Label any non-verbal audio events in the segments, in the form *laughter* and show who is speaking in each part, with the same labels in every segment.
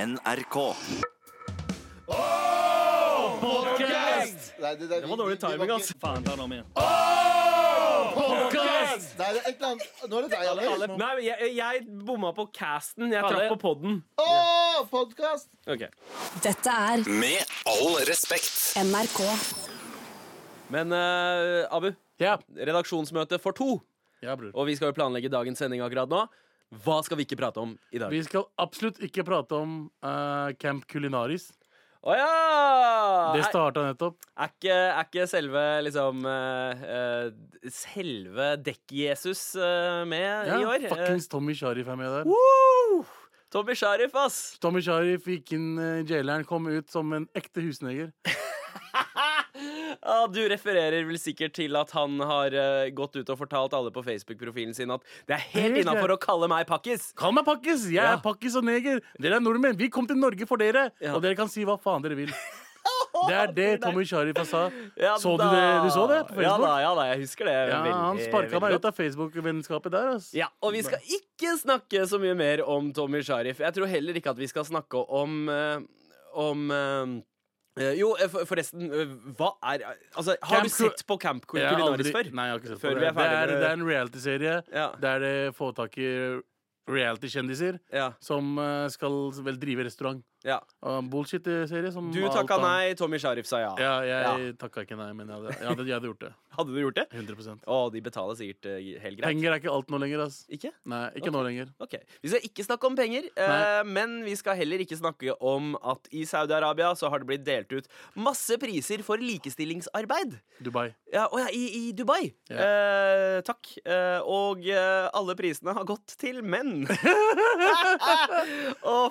Speaker 1: NRK.
Speaker 2: Nei, det, det,
Speaker 3: Det var dårlig timing, ass. Faen, ta den om igjen. Podcast!
Speaker 2: Nei, det er et eller annet Nå er det deg, Alex.
Speaker 4: Nei, men jeg, jeg bomma på casten. Jeg
Speaker 3: Alle-
Speaker 4: traff på podden.
Speaker 2: Å, podkast!
Speaker 4: Ok.
Speaker 5: Dette er
Speaker 1: Med all respekt.
Speaker 5: NRK.
Speaker 4: Men eh, Abu,
Speaker 3: Ja.
Speaker 4: redaksjonsmøte for to.
Speaker 3: Ja, bror.
Speaker 4: Og vi skal jo planlegge dagens sending akkurat nå. Hva skal vi ikke prate om i dag?
Speaker 3: Vi skal absolutt ikke prate om eh, Camp Culinaris.
Speaker 4: Å ja!
Speaker 3: Det
Speaker 4: Er,
Speaker 3: starta nettopp.
Speaker 4: er, ikke, er ikke selve liksom eh, eh, Selve Dekk-Jesus eh, med
Speaker 3: Ja,
Speaker 4: i år?
Speaker 3: Fuckings Tommy Sharif er med der.
Speaker 4: Eh, woo! Tommy Sharif, ass!
Speaker 3: Tommy Sharif gikk inn eh, i jaileren, kom ut som en ekte husneger.
Speaker 4: Ja, du refererer vel sikkert til at han har eh, gått ut og fortalt alle på Facebook-profilen sin at det er helt
Speaker 3: Helt
Speaker 4: innafor å
Speaker 3: greit.
Speaker 4: kalle meg pakkis.
Speaker 3: Kall meg pakkis! Jeg
Speaker 4: Ja.
Speaker 3: er pakkis og neger. Dere er nordmenn. Vi kom til Norge for dere.
Speaker 4: Ja.
Speaker 3: Og dere kan si hva faen
Speaker 4: *laughs*
Speaker 3: dere vil. Det er det Tommy Sharif sa.
Speaker 4: Ja
Speaker 3: så du
Speaker 4: da.
Speaker 3: det? Du så det på
Speaker 4: Ja da,
Speaker 3: Facebook?
Speaker 4: ja da, jeg husker det.
Speaker 3: Ja,
Speaker 4: veldig,
Speaker 3: han sparka
Speaker 4: veldig
Speaker 3: meg
Speaker 4: godt.
Speaker 3: ut av Facebook-vennskapet der. ass.
Speaker 4: Ja, og vi skal ikke snakke så mye mer om Tommy Sharif. Jeg tror heller ikke at vi skal snakke om eh, Om eh, eh, Jo, eh, for- forresten, eh, hva er Altså, har
Speaker 3: Camp
Speaker 4: du
Speaker 3: Cul-
Speaker 4: sett på Camp Cul-
Speaker 3: Jeg har
Speaker 4: Culinaris
Speaker 3: aldri-
Speaker 4: før?
Speaker 3: Nei, jeg har ikke sett
Speaker 4: Før
Speaker 3: på
Speaker 4: vi
Speaker 3: det.
Speaker 4: er ferdig
Speaker 3: det,
Speaker 4: med-
Speaker 3: er, det er en reality-serie
Speaker 4: Ja.
Speaker 3: der det får tak i reality-kjendiser
Speaker 4: Ja,
Speaker 3: som eh, skal vel drive restaurant.
Speaker 4: ja.
Speaker 3: Og en Bullshit-serie som
Speaker 4: Du
Speaker 3: alt
Speaker 4: takka
Speaker 3: annet.
Speaker 4: nei, Tommy Sharif sa ja.
Speaker 3: Ja, jeg takka ikke nei, men jeg hadde, jeg hadde, jeg hadde gjort det.
Speaker 4: Hadde du gjort det?
Speaker 3: 100
Speaker 4: Å, de betaler sikkert eh, helt greit.
Speaker 3: Penger er ikke alt nå lenger. ass
Speaker 4: Ikke?
Speaker 3: Nei, ikke nå lenger.
Speaker 4: Ok, Vi skal ikke snakke om penger, eh, men vi skal heller ikke snakke om at i Saudi-Arabia så har det blitt delt ut masse priser for likestillingsarbeid.
Speaker 3: Dubai.
Speaker 4: Ja, å ja, i, i Dubai.
Speaker 3: Ja.
Speaker 4: Eh, takk. Eh, og eh, alle prisene har gått til *laughs* menn. Å,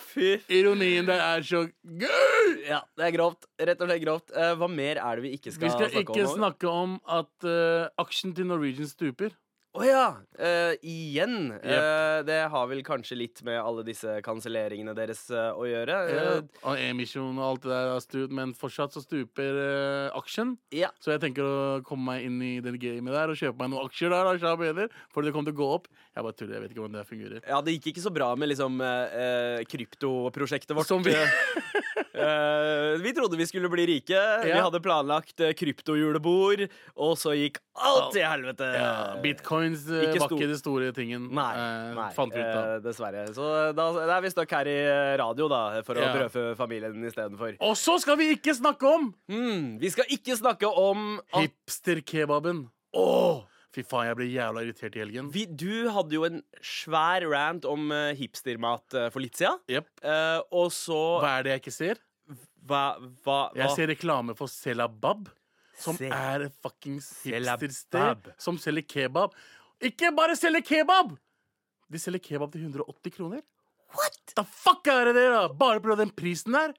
Speaker 4: fy.
Speaker 3: Ironien der er så gøy!
Speaker 4: Ja, det er grovt. Rett og slett grovt. Eh, hva mer er det vi ikke skal,
Speaker 3: Vi skal
Speaker 4: snakke
Speaker 3: ikke
Speaker 4: om? nå?
Speaker 3: snakke om at eh, aksjen til Norwegian stuper.
Speaker 4: Å ja! eh, igjen. Eh, det har vel kanskje litt med alle disse kanselleringene deres eh, å gjøre. Eh,
Speaker 3: Og emisjon og alt det der har stupt, men fortsatt så stuper eh, aksjen.
Speaker 4: ja.
Speaker 3: Så jeg tenker å komme meg inn i det gamet der og kjøpe meg noen aksjer der. da, Shah Beder, Fordi det kommer til å gå opp. Jeg bare tuller, jeg vet ikke hvordan det her fungerer.
Speaker 4: Ja, det gikk ikke så bra med liksom eh, eh, kryptoprosjektet vårt.
Speaker 3: Som vi-
Speaker 4: *laughs* Eh, vi trodde vi skulle bli rike. Vi
Speaker 3: Ja.
Speaker 4: hadde planlagt eh, kryptojulebord, og så gikk alt til helvete!
Speaker 3: Ja, bitcoins eh,
Speaker 4: ikke
Speaker 3: var
Speaker 4: stor-
Speaker 3: ikke den store tingen.
Speaker 4: Nei.
Speaker 3: eh,
Speaker 4: nei
Speaker 3: fant vi ut av.
Speaker 4: eh, dessverre. Så da, da er vi stuck her i eh, radio, da, for å
Speaker 3: Ja.
Speaker 4: brødfø familien istedenfor.
Speaker 3: Og så skal vi ikke snakke om
Speaker 4: Mm, vi skal ikke snakke om at
Speaker 3: hipsterkebaben. Fy faen, jeg ble jævla irritert i helgen.
Speaker 4: vi, Du hadde jo en svær rant om eh, hipstermat eh, for litt siden.
Speaker 3: Jep.
Speaker 4: Eh, og så
Speaker 3: Hva er det jeg ikke ser?
Speaker 4: Hva? hva, hva?
Speaker 3: Jeg ser reklame for Selabab, som
Speaker 4: Se-
Speaker 3: er et fuckings
Speaker 4: Selabab.
Speaker 3: hipstersted som selger kebab. Ikke bare selger kebab! De selger kebab til 180 kroner. What? The fuck er det det, da? Bare pga. den prisen der?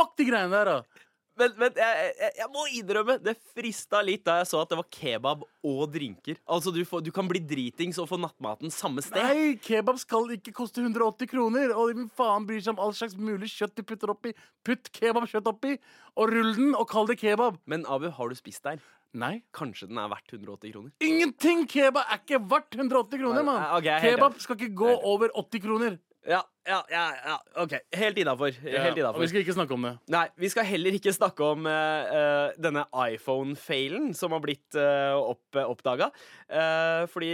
Speaker 3: Fuck de greiene der, da.
Speaker 4: Men, men jeg, jeg, jeg må innrømme, det frista litt da jeg så at det var kebab og drinker. Altså, Du, får, du kan bli dritings og få nattmaten samme sted.
Speaker 3: Nei, kebab skal ikke koste 180 kroner. Og hvem faen bryr seg om all slags mulig kjøtt de putter oppi? Putt kebabkjøtt oppi, og rull den, og kall det kebab.
Speaker 4: Men Abu, har du spist der?
Speaker 3: Nei.
Speaker 4: Kanskje den er verdt 180 kroner?
Speaker 3: Ingenting kebab er ikke verdt 180 kroner, mann.
Speaker 4: Nei, ok, jeg er helt
Speaker 3: kebab
Speaker 4: enig.
Speaker 3: skal ikke gå
Speaker 4: Jeg er helt
Speaker 3: over 80 kroner.
Speaker 4: Ja, ja, ja, ja. ok. Helt innafor. Helt
Speaker 3: og vi
Speaker 4: innafor.
Speaker 3: skal ikke snakke om det.
Speaker 4: Nei, vi skal heller ikke snakke om eh, eh, denne iPhone-feilen som har blitt eh, opp, oppdaga. Eh, fordi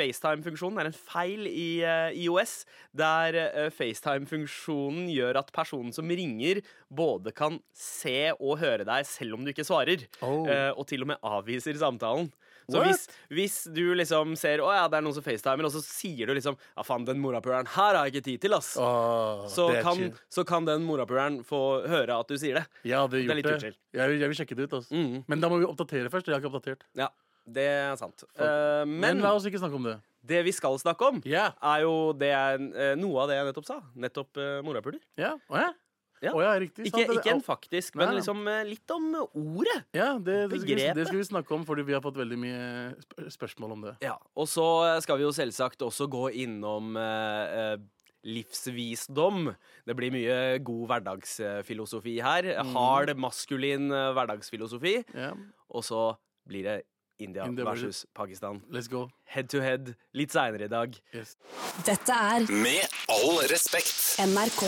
Speaker 4: FaceTime-funksjonen er en feil i eh, IOS, der eh, FaceTime-funksjonen gjør at personen som ringer, både kan se og høre deg selv om du ikke svarer.
Speaker 3: Oh.
Speaker 4: Eh, og til og med avviser samtalen. Så
Speaker 3: What?
Speaker 4: hvis, hvis du liksom ser å ja, det er noen som facetimer, og så sier du liksom ja, faen, den morapuleren her har jeg ikke tid til, ass
Speaker 3: Åh,
Speaker 4: så
Speaker 3: det er
Speaker 4: kan,
Speaker 3: chill.
Speaker 4: så kan den morapuleren få høre at du sier det.
Speaker 3: Jeg hadde
Speaker 4: er
Speaker 3: gjort
Speaker 4: litt
Speaker 3: det.
Speaker 4: utskilt.
Speaker 3: Jeg vil, jeg vil sjekke det ut. Altså.
Speaker 4: Mhm.
Speaker 3: Men da må vi oppdatere først. og Jeg har ikke oppdatert.
Speaker 4: Ja, det er sant. Eh,
Speaker 3: Men,
Speaker 4: men
Speaker 3: la oss ikke snakke om det.
Speaker 4: det vi skal snakke om,
Speaker 3: Ja.
Speaker 4: er jo det er, eh, noe av det jeg nettopp sa. Nettopp eh, morapuler.
Speaker 3: Ja. Å ja.
Speaker 4: Ja.
Speaker 3: Å ja, riktig.
Speaker 4: Ikke,
Speaker 3: sant, det-
Speaker 4: ikke en
Speaker 3: å,
Speaker 4: faktisk,
Speaker 3: Nei,
Speaker 4: men
Speaker 3: nei.
Speaker 4: liksom eh, litt om ordet.
Speaker 3: Ja, det, det, skal vi,
Speaker 4: Begrepet.
Speaker 3: det skal vi snakke om, fordi vi har fått veldig mye sp spørsmål om det.
Speaker 4: Ja, Og så eh, skal vi jo selvsagt også gå innom eh, eh, livsvisdom. Det blir mye god hverdagsfilosofi her. Hard, maskulin eh, hverdagsfilosofi.
Speaker 3: Ja,
Speaker 4: Og så blir det India
Speaker 3: India versus-
Speaker 4: versus Pakistan.
Speaker 3: Let's go.
Speaker 4: Head to head litt seinere i dag.
Speaker 3: Yes.
Speaker 5: Dette er
Speaker 1: Med all respekt.
Speaker 5: NRK.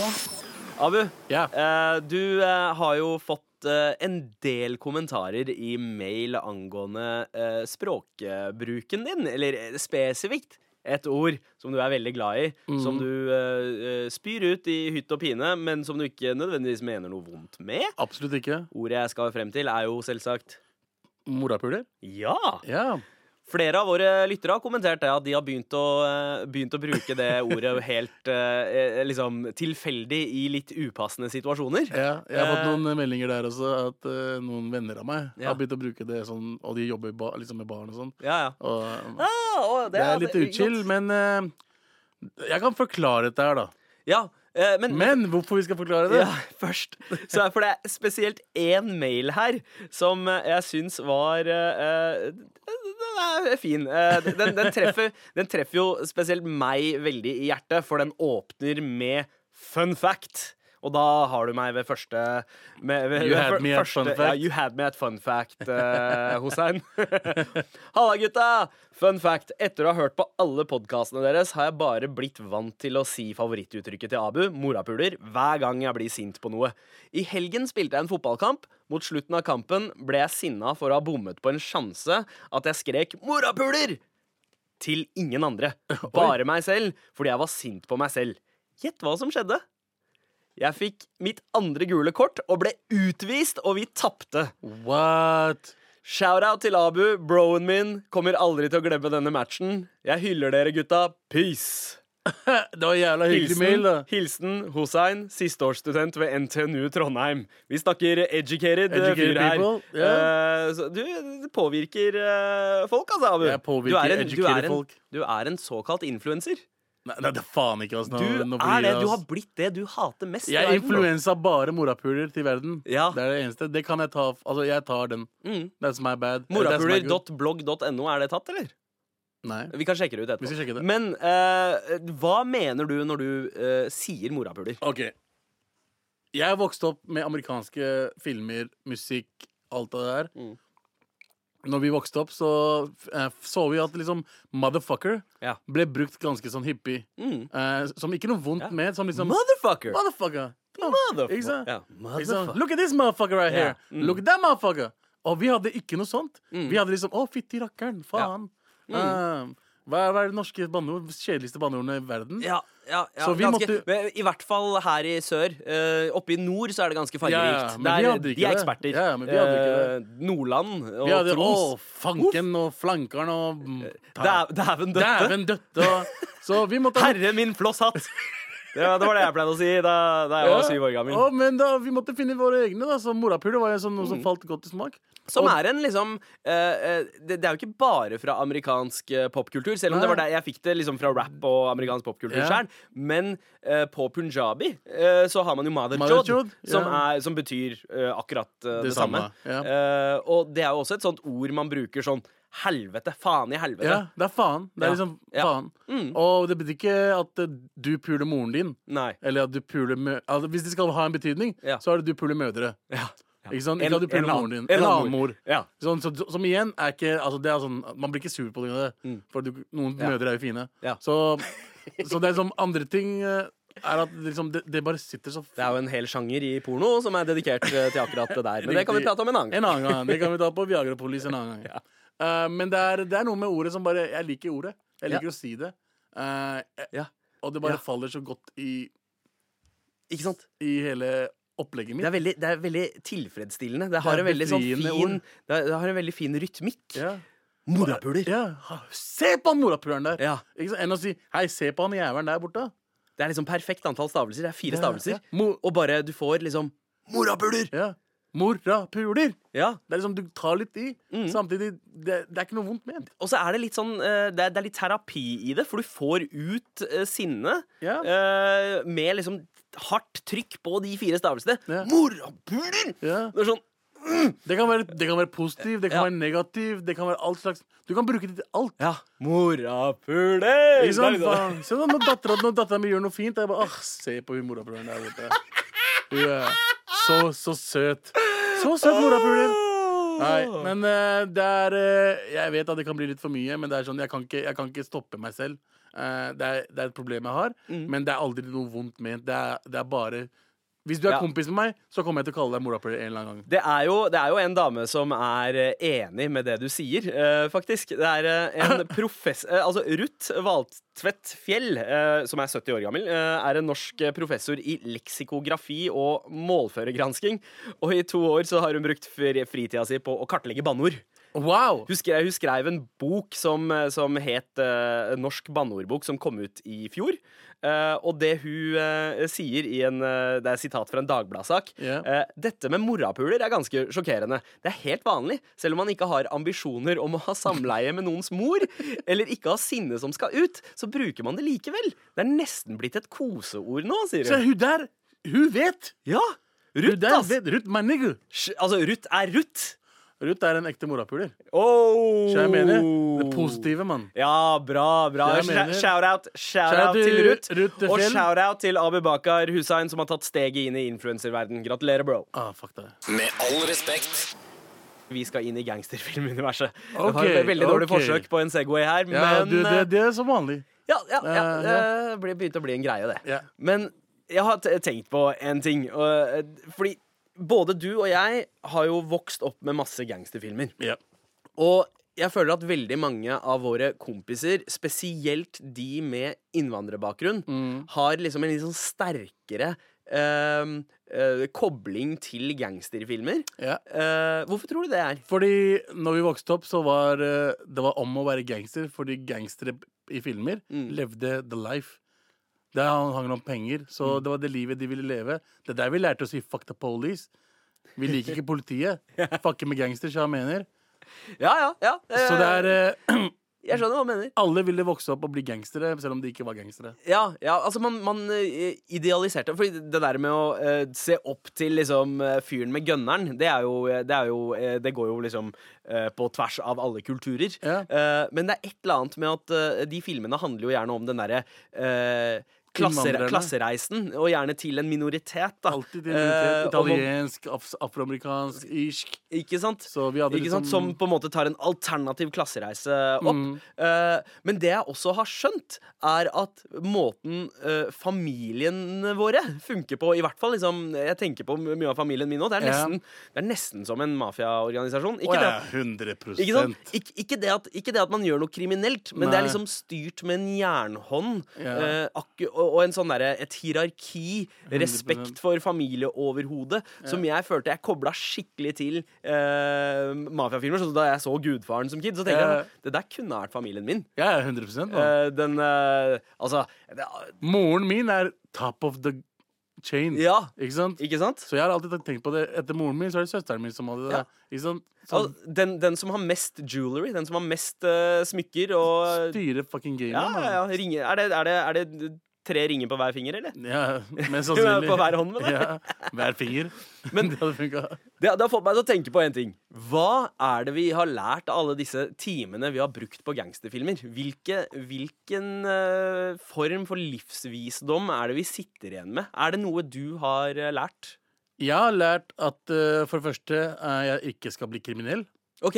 Speaker 4: Abu,
Speaker 3: Ja.
Speaker 4: eh, du eh, har jo fått eh, en del kommentarer i mail angående eh, språkbruken din, eller eh, spesifikt et ord som du er veldig glad i, som du eh, eh, spyr ut i hytt og pine, men som du ikke nødvendigvis mener noe vondt med.
Speaker 3: Absolutt ikke.
Speaker 4: Ordet jeg skal frem til, er jo selvsagt
Speaker 3: Morapuler?
Speaker 4: ja.
Speaker 3: Ja.
Speaker 4: Flere av våre lyttere har kommentert det at de har begynt å, eh, begynt å bruke det ordet
Speaker 3: *laughs*
Speaker 4: helt eh, eh, liksom, tilfeldig i litt upassende situasjoner.
Speaker 3: ja. Jeg har fått
Speaker 4: Eh.
Speaker 3: noen meldinger der også, at eh, noen venner av meg
Speaker 4: Ja.
Speaker 3: har begynt å bruke det sånn, og de jobber i ba, liksom med barn og sånn.
Speaker 4: Ja, ja.
Speaker 3: Og
Speaker 4: Ja, og
Speaker 3: det er litt
Speaker 4: altså-
Speaker 3: uchill, men eh, jeg kan forklare dette her, da.
Speaker 4: Ja, eh, men,
Speaker 3: Men hvorfor vi skal forklare det?
Speaker 4: ja, *laughs* først. Så er for det er spesielt én mail her som eh, jeg syns var eh, eh, Den er fin. Eh, Den, den, treffer, den treffer jo spesielt meg veldig i hjertet, for den åpner med fun fact. Og da har du meg ved første med, ved,
Speaker 3: You
Speaker 4: ved
Speaker 3: had
Speaker 4: fyr-
Speaker 3: me at fun
Speaker 4: Ja,
Speaker 3: fact.
Speaker 4: you had me at fun fact, eh, Hossein. *laughs* Halla, gutta! Fun fact. Etter å ha hørt på alle podkastene deres, har jeg bare blitt vant til å si favorittuttrykket til Abu, morapuler, hver gang jeg blir sint på noe. I helgen spilte jeg en fotballkamp. Mot slutten av kampen ble jeg sinna for å ha bommet på en sjanse at jeg skrek 'morapuler' til ingen
Speaker 3: *laughs*
Speaker 4: andre. Bare meg selv, fordi jeg var sint på meg selv. Gjett hva som skjedde? Jeg fikk mitt andre gule kort og ble utvist, og vi tapte.
Speaker 3: What?
Speaker 4: Shout-out til Abu, broen min. Kommer aldri til å glemme denne matchen. Jeg hyller dere, gutta. Peace!
Speaker 3: Det var jævla hyggelig mail, da.
Speaker 4: Hilsen, hilsen Hossein, sisteårsstudent ved NTNU Trondheim. Vi snakker educated, eh,
Speaker 3: Educated
Speaker 4: fyr her.
Speaker 3: people, ja.
Speaker 4: Eh, så du det påvirker eh, folk, altså, Abu.
Speaker 3: Jeg påvirker
Speaker 4: du er en, du
Speaker 3: educated
Speaker 4: er en,
Speaker 3: folk.
Speaker 4: Du er en såkalt influenser.
Speaker 3: Nei, nei, det er faen ikke, altså.
Speaker 4: Du
Speaker 3: Nå, nå
Speaker 4: er det.
Speaker 3: blir det,
Speaker 4: Du
Speaker 3: altså.
Speaker 4: har blitt det du hater mest. i
Speaker 3: Jeg
Speaker 4: verden, bro.
Speaker 3: influensa bare morapuler til verden.
Speaker 4: Ja.
Speaker 3: Det er det eneste. Det kan jeg ta. Altså, jeg tar den.
Speaker 4: Mm.
Speaker 3: That's my bad. That's my good.
Speaker 4: Morapuler.blogg.no, er det tatt, eller?
Speaker 3: Nei.
Speaker 4: Vi kan sjekke det ut etterpå.
Speaker 3: Vi skal sjekke det.
Speaker 4: Men eh, hva mener du når du eh, sier morapuler?
Speaker 3: OK. Jeg vokste opp med amerikanske filmer, musikk, alt det der.
Speaker 4: Mm.
Speaker 3: Når vi vokste opp, så eh, så vi at liksom motherfucker
Speaker 4: Ja.
Speaker 3: ble brukt ganske sånn hyppig.
Speaker 4: Mm.
Speaker 3: Eh, som ikke noe vondt
Speaker 4: Ja.
Speaker 3: med. Som liksom
Speaker 4: Motherfucker!
Speaker 3: Motherfucker! Ikke
Speaker 4: Motherfucker.
Speaker 3: sant?
Speaker 4: Ja.
Speaker 3: Ikke
Speaker 4: Motherfucker.
Speaker 3: sant? Look at this motherfucker right
Speaker 4: Ja.
Speaker 3: here. Look at that motherfucker. Og vi hadde ikke noe sånt.
Speaker 4: Mm.
Speaker 3: Vi hadde liksom Å, fytti rakkeren. Faen. Eh, hva, er, hva er det norske banneord? Kjedeligste banneordene i verden?
Speaker 4: Ja, ja, ja,
Speaker 3: Så vi
Speaker 4: ganske,
Speaker 3: måtte-
Speaker 4: men I hvert fall her i sør. Eh, oppe i nord så er det ganske
Speaker 3: Ja,
Speaker 4: fargerikt.
Speaker 3: ja, men vi
Speaker 4: Der-
Speaker 3: hadde ikke
Speaker 4: de er
Speaker 3: det.
Speaker 4: eksperter.
Speaker 3: Ja, men vi hadde ikke
Speaker 4: Eh, Nordland og
Speaker 3: Vi hadde Å,
Speaker 4: Troms.
Speaker 3: fanken og flankeren og mm, ta-
Speaker 4: Dæ- Dæven Eh, døtte.
Speaker 3: Dæven
Speaker 4: *laughs*
Speaker 3: døtte og Så vi måtte
Speaker 4: Herre min
Speaker 3: *laughs*
Speaker 4: flosshatt! Det, var- det var det jeg pleide å si da, da jeg var syv år gammel.
Speaker 3: Å, men da, vi måtte finne våre egne, da. Så morapuler var jo sånn, noe
Speaker 4: Mm.
Speaker 3: som falt godt i smak.
Speaker 4: Som
Speaker 3: Og-
Speaker 4: er en liksom eh, eh, det, det er jo ikke bare fra amerikansk eh, popkultur, selv om det
Speaker 3: Nei.
Speaker 4: var der jeg fikk det liksom fra rap og amerikansk popkultur
Speaker 3: Ja.
Speaker 4: selv. Men eh, på punjabi eh, så har man jo Mother
Speaker 3: Mother
Speaker 4: Jod,
Speaker 3: Jod,
Speaker 4: som,
Speaker 3: ja.
Speaker 4: er, som betyr eh, akkurat eh, det,
Speaker 3: Det
Speaker 4: samme.
Speaker 3: samme, ja.
Speaker 4: Eh, og det er jo også et sånt ord man bruker sånn helvete, faen i helvete.
Speaker 3: Ja, det er faen. Det er
Speaker 4: Ja.
Speaker 3: liksom
Speaker 4: Ja.
Speaker 3: faen.
Speaker 4: Mm.
Speaker 3: Og det betyr ikke at eh, du puler moren din.
Speaker 4: Nei.
Speaker 3: Eller at du puler mø altså, Hvis det skal ha en betydning,
Speaker 4: Ja.
Speaker 3: så er det du puler mødre.
Speaker 4: Ja.
Speaker 3: Ikke sant? Ikke at du puler moren din.
Speaker 4: En annen mor. Ja.
Speaker 3: Sånn, så, som igjen er ikke altså, det er sånn, Man blir ikke sur på det. det, For du, noen mødre er jo fine.
Speaker 4: Mm. Ja.
Speaker 3: Så, så det er sånn andre ting eh, er at det liksom, det, det bare sitter så
Speaker 4: Det er jo en hel sjanger i porno som er dedikert eh, til akkurat det
Speaker 3: *laughs*
Speaker 4: der. Men det kan vi
Speaker 3: Riktig.
Speaker 4: prate om en annen gang.
Speaker 3: En annen gang. Det kan vi ta på Viagrapolis
Speaker 4: *laughs*
Speaker 3: en annen gang. Eh, men det er, det er noe med ordet som bare Jeg liker ordet. Jeg liker å si det. Eh, jeg-
Speaker 4: Ja.
Speaker 3: Og det bare
Speaker 4: Ja.
Speaker 3: faller så godt i,
Speaker 4: Ikke sant?
Speaker 3: i hele opplegget mitt.
Speaker 4: Det er veldig, det er veldig tilfredsstillende. Det har,
Speaker 3: Det er
Speaker 4: en veldig sånn
Speaker 3: befriende
Speaker 4: fin,
Speaker 3: ord.
Speaker 4: det er- det har en veldig fin rytmikk.
Speaker 3: Ja.
Speaker 4: Morapuler.
Speaker 3: Ja. ha- Se på han morapuleren der!
Speaker 4: Ja.
Speaker 3: Ikke sant? Enn å si 'hei, se på han jævelen der borte'.
Speaker 4: Det er liksom perfekt antall stavelser. Det er fire
Speaker 3: Ja,
Speaker 4: stavelser.
Speaker 3: ja. Mo-
Speaker 4: Og bare du får liksom Morapuler!
Speaker 3: Ja. Morapuler!
Speaker 4: Ja.
Speaker 3: Det er liksom du tar litt i.
Speaker 4: Mm.
Speaker 3: Samtidig, det, det er ikke noe vondt ment.
Speaker 4: Og så er det litt sånn eh, det er, det er litt terapi i det, for du får ut eh, sinnet
Speaker 3: Ja.
Speaker 4: eh, med liksom hardt trykk på de fire stavelsene.
Speaker 3: Ja.
Speaker 4: Morapuler!
Speaker 3: Ja.
Speaker 4: Det er sånn
Speaker 3: Det kan være, det kan være positiv, det kan
Speaker 4: Ja.
Speaker 3: være negativ, det kan være alt slags Du kan bruke det til alt.
Speaker 4: Ja. Morapuler!
Speaker 3: Ikke sant?
Speaker 4: Det er liksom-
Speaker 3: Faen. Se da, når dattera når datteren min gjør noe fint, jeg bare ah, Se på hun morapulen der
Speaker 4: *laughs*
Speaker 3: borte. Hun er så, så søt. Så søt morapuler. Nei, men eh, det er eh, Jeg vet at det kan bli litt for mye, men det er sånn, jeg kan ikke, jeg kan ikke stoppe meg selv.
Speaker 4: Mm.
Speaker 3: Eh, det, er, det er et problem jeg har, men det er aldri noe vondt ment. Det er, det er bare Hvis du er
Speaker 4: Ja.
Speaker 3: kompis med meg, så kommer jeg til å kalle deg morapuler en eller annen gang.
Speaker 4: Det er, jo, det er jo en dame som er eh, enig med det du sier, eh, faktisk. Det er eh, en profess... eh, altså Ruth Valtvedt Fjell, eh, som er 70 år gammel, eh, er en norsk eh, professor i leksikografi og målførergransking. Og i to år så har hun brukt fri- fritida si på å kartlegge banneord.
Speaker 3: Wow!
Speaker 4: Hun skrev, hun skrev en bok som, som het eh, Norsk banneordbok, som kom ut i fjor. Eh, og det hun eh, sier i en eh, Det er et sitat fra en Dagbladsak.
Speaker 3: Ja.
Speaker 4: Eh, dette med morapuler er ganske sjokkerende. Det er helt vanlig, selv om man ikke har ambisjoner om å ha samleie med noens
Speaker 3: *laughs*
Speaker 4: mor, eller ikke har sinne som skal ut, så bruker man det likevel. Det er nesten blitt et koseord nå, sier
Speaker 3: Se,
Speaker 4: hun.
Speaker 3: hun der, hun vet!
Speaker 4: Ja!
Speaker 3: Ruth,
Speaker 4: Ruth,
Speaker 3: der
Speaker 4: ass.
Speaker 3: vet, Ruth, my nigga.
Speaker 4: Sj- Altså, Ruth er Ruth.
Speaker 3: Ruth er en ekte morapuler.
Speaker 4: Oh.
Speaker 3: Så jeg mener det positive, mann.
Speaker 4: Ja, bra. bra
Speaker 3: Jeg mener-
Speaker 4: Shout-out
Speaker 3: Shout-out
Speaker 4: shout til
Speaker 3: til
Speaker 4: Ruth.
Speaker 3: Ruth
Speaker 4: og
Speaker 3: Fjell.
Speaker 4: shout-out til Abubakar Hussein, som har tatt steget inn i influenserverden Gratulerer, bro.
Speaker 3: Ah, fuck det.
Speaker 1: Med all respekt.
Speaker 4: Vi skal inn i gangsterfilmuniverset.
Speaker 3: Ok,
Speaker 4: det var et veldig dårlig
Speaker 3: ok.
Speaker 4: forsøk på en Segway her,
Speaker 3: Ja,
Speaker 4: men eh,
Speaker 3: du, det, det er som vanlig.
Speaker 4: Ja, ja, ja,
Speaker 3: Eh,
Speaker 4: det ble- begynte å bli en greie, det.
Speaker 3: Ja.
Speaker 4: Men jeg har t- tenkt på en ting. og, eh, Fordi både du og jeg har jo vokst opp med masse gangsterfilmer.
Speaker 3: Ja.
Speaker 4: Og jeg føler at veldig mange av våre kompiser, spesielt de med innvandrerbakgrunn,
Speaker 3: Mm.
Speaker 4: har liksom en litt sånn sterkere ehm, eh, kobling til gangsterfilmer.
Speaker 3: Ja.
Speaker 4: Eh, hvorfor tror du det er?
Speaker 3: Fordi når vi vokste opp, så var eh, det var om å være gangster, fordi gangstere i filmer
Speaker 4: Mm.
Speaker 3: levde the life. Det hang om penger, så
Speaker 4: Mm.
Speaker 3: det var det livet de ville leve. Det er der vi lærte å si 'fuck the police'. Vi liker
Speaker 4: *laughs*
Speaker 3: ikke politiet. Fucke med gangsters, jeg mener.
Speaker 4: Ja, ja, ja. eh,
Speaker 3: Så det er eh, *clears throat*
Speaker 4: Jeg skjønner hva du mener.
Speaker 3: Alle ville vokse opp og bli gangstere, selv om de ikke var gangstere.
Speaker 4: Ja, ja altså man, man eh, idealiserte Fordi det der med å eh, se opp til liksom eh, fyren med gønneren, det er jo, det, er jo eh, det går jo liksom eh, på tvers av alle kulturer.
Speaker 3: Ja.
Speaker 4: Eh, men det er et eller annet med at eh, de filmene handler jo gjerne om den derre eh, klasser,
Speaker 3: Innvandrerne.
Speaker 4: klassereisen, og gjerne til en minoritet, da.
Speaker 3: Alltid
Speaker 4: Eh, og man-
Speaker 3: italiensk, af afroamerikansk, irsk.
Speaker 4: ikke sant?
Speaker 3: Så vi hadde
Speaker 4: ikke sant? Som
Speaker 3: liksom-
Speaker 4: på en måte tar en alternativ klassereise opp.
Speaker 3: Mm.
Speaker 4: Eh, men det jeg også har skjønt, er at måten eh, familiene våre funker på I hvert fall liksom, jeg tenker på m- mye av familien min nå. Det, er
Speaker 3: Ja.
Speaker 4: nesten- det er nesten som en mafiaorganisasjon. Ikke,
Speaker 3: Å ja,
Speaker 4: det at-
Speaker 3: 100
Speaker 4: ikke, sant? Ikke, ikke, det at, ikke det at man gjør noe kriminelt, men det er
Speaker 3: Nei.
Speaker 4: liksom styrt med en jernhånd.
Speaker 3: Ja.
Speaker 4: eh, akku, og, og en sånn derre et hierarki, respekt for familieoverhodet, som jeg følte jeg kobla skikkelig til eh, mafiafilmer. Så da jeg så Gudfaren som kid, så tenkte
Speaker 3: Ja.
Speaker 4: jeg det der kunne ha vært familien min.
Speaker 3: Ja, 100 mann.
Speaker 4: Eh, den eh, Altså det-
Speaker 3: Moren min er top of the chain.
Speaker 4: Ja.
Speaker 3: Ikke sant?
Speaker 4: Ikke sant?
Speaker 3: Så jeg har alltid tenkt på det. Etter moren min så er det søsteren min som hadde det.
Speaker 4: Ja.
Speaker 3: Ikke sant? Så
Speaker 4: Al- Den, den som har mest jewelry, den som har mest eh, smykker og
Speaker 3: styre fucking gamet.
Speaker 4: Ja, ja, ja.
Speaker 3: mann.
Speaker 4: Ringer. Er, det, er, det, er det tre ringer på hver finger, eller? *laughs*
Speaker 3: ja, mest sannsynlig.
Speaker 4: På hver hånd, mener jeg.
Speaker 3: Ja, hver finger.
Speaker 4: *laughs* Men-
Speaker 3: det hadde funka.
Speaker 4: Det, det har fått meg til å tenke på en ting. Hva er det vi har lært av alle disse timene vi har brukt på gangsterfilmer? Hvilke, hvilken eh, form for livsvisdom er det vi sitter igjen med? Er det noe du har eh, lært?
Speaker 3: Jeg har lært at eh, for det første eh, jeg ikke skal bli kriminell.
Speaker 4: OK!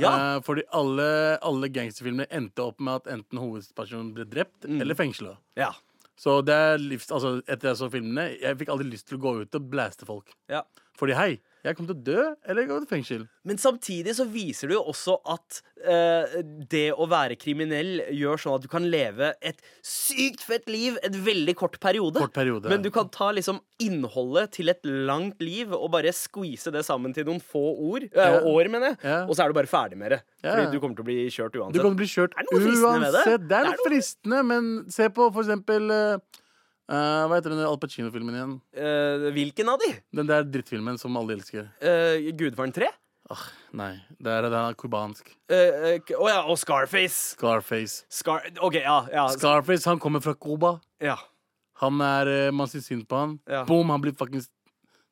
Speaker 4: Ja.
Speaker 3: Eh, fordi alle, alle gangsterfilmer endte opp med at enten hovedpersonen ble drept
Speaker 4: Mm.
Speaker 3: eller fengsla.
Speaker 4: ja.
Speaker 3: Så det er livs... Altså, etter jeg så filmene, jeg fikk aldri lyst til å gå ut og blaste folk.
Speaker 4: ja.
Speaker 3: Fordi hei, jeg kom til å dø eller gå til fengsel.
Speaker 4: Men samtidig så viser det jo også at eh, det å være kriminell gjør sånn at du kan leve et sykt fett liv en veldig kort periode.
Speaker 3: Kort periode.
Speaker 4: Men du kan ta liksom innholdet til et langt liv og bare squeeze det sammen til noen få ord. eh,
Speaker 3: Ja.
Speaker 4: År, mener jeg.
Speaker 3: Ja.
Speaker 4: Og så er du bare ferdig med det.
Speaker 3: Ja.
Speaker 4: Fordi du kommer til å bli kjørt
Speaker 3: Du
Speaker 4: uansett.
Speaker 3: kan bli kjørt
Speaker 4: Er det noe fristende med det?
Speaker 3: uansett. Det er
Speaker 4: Det er
Speaker 3: noe fristende, men se på for eksempel eh, eh, Hva heter den Al Pacino-filmen igjen?
Speaker 4: Eh, hvilken av de?
Speaker 3: Den der drittfilmen som alle elsker.
Speaker 4: Eh, Gudfaren 3?
Speaker 3: Ah, nei. Det er den er kubansk.
Speaker 4: Å eh, k- å ja, og Scarface.
Speaker 3: Scarface.
Speaker 4: Scar OK, ja. ja,
Speaker 3: Scarface, han kommer fra Cuba.
Speaker 4: ja.
Speaker 3: Han er eh, Man syns synd på han.
Speaker 4: Ja.
Speaker 3: Boom, han blir fuckings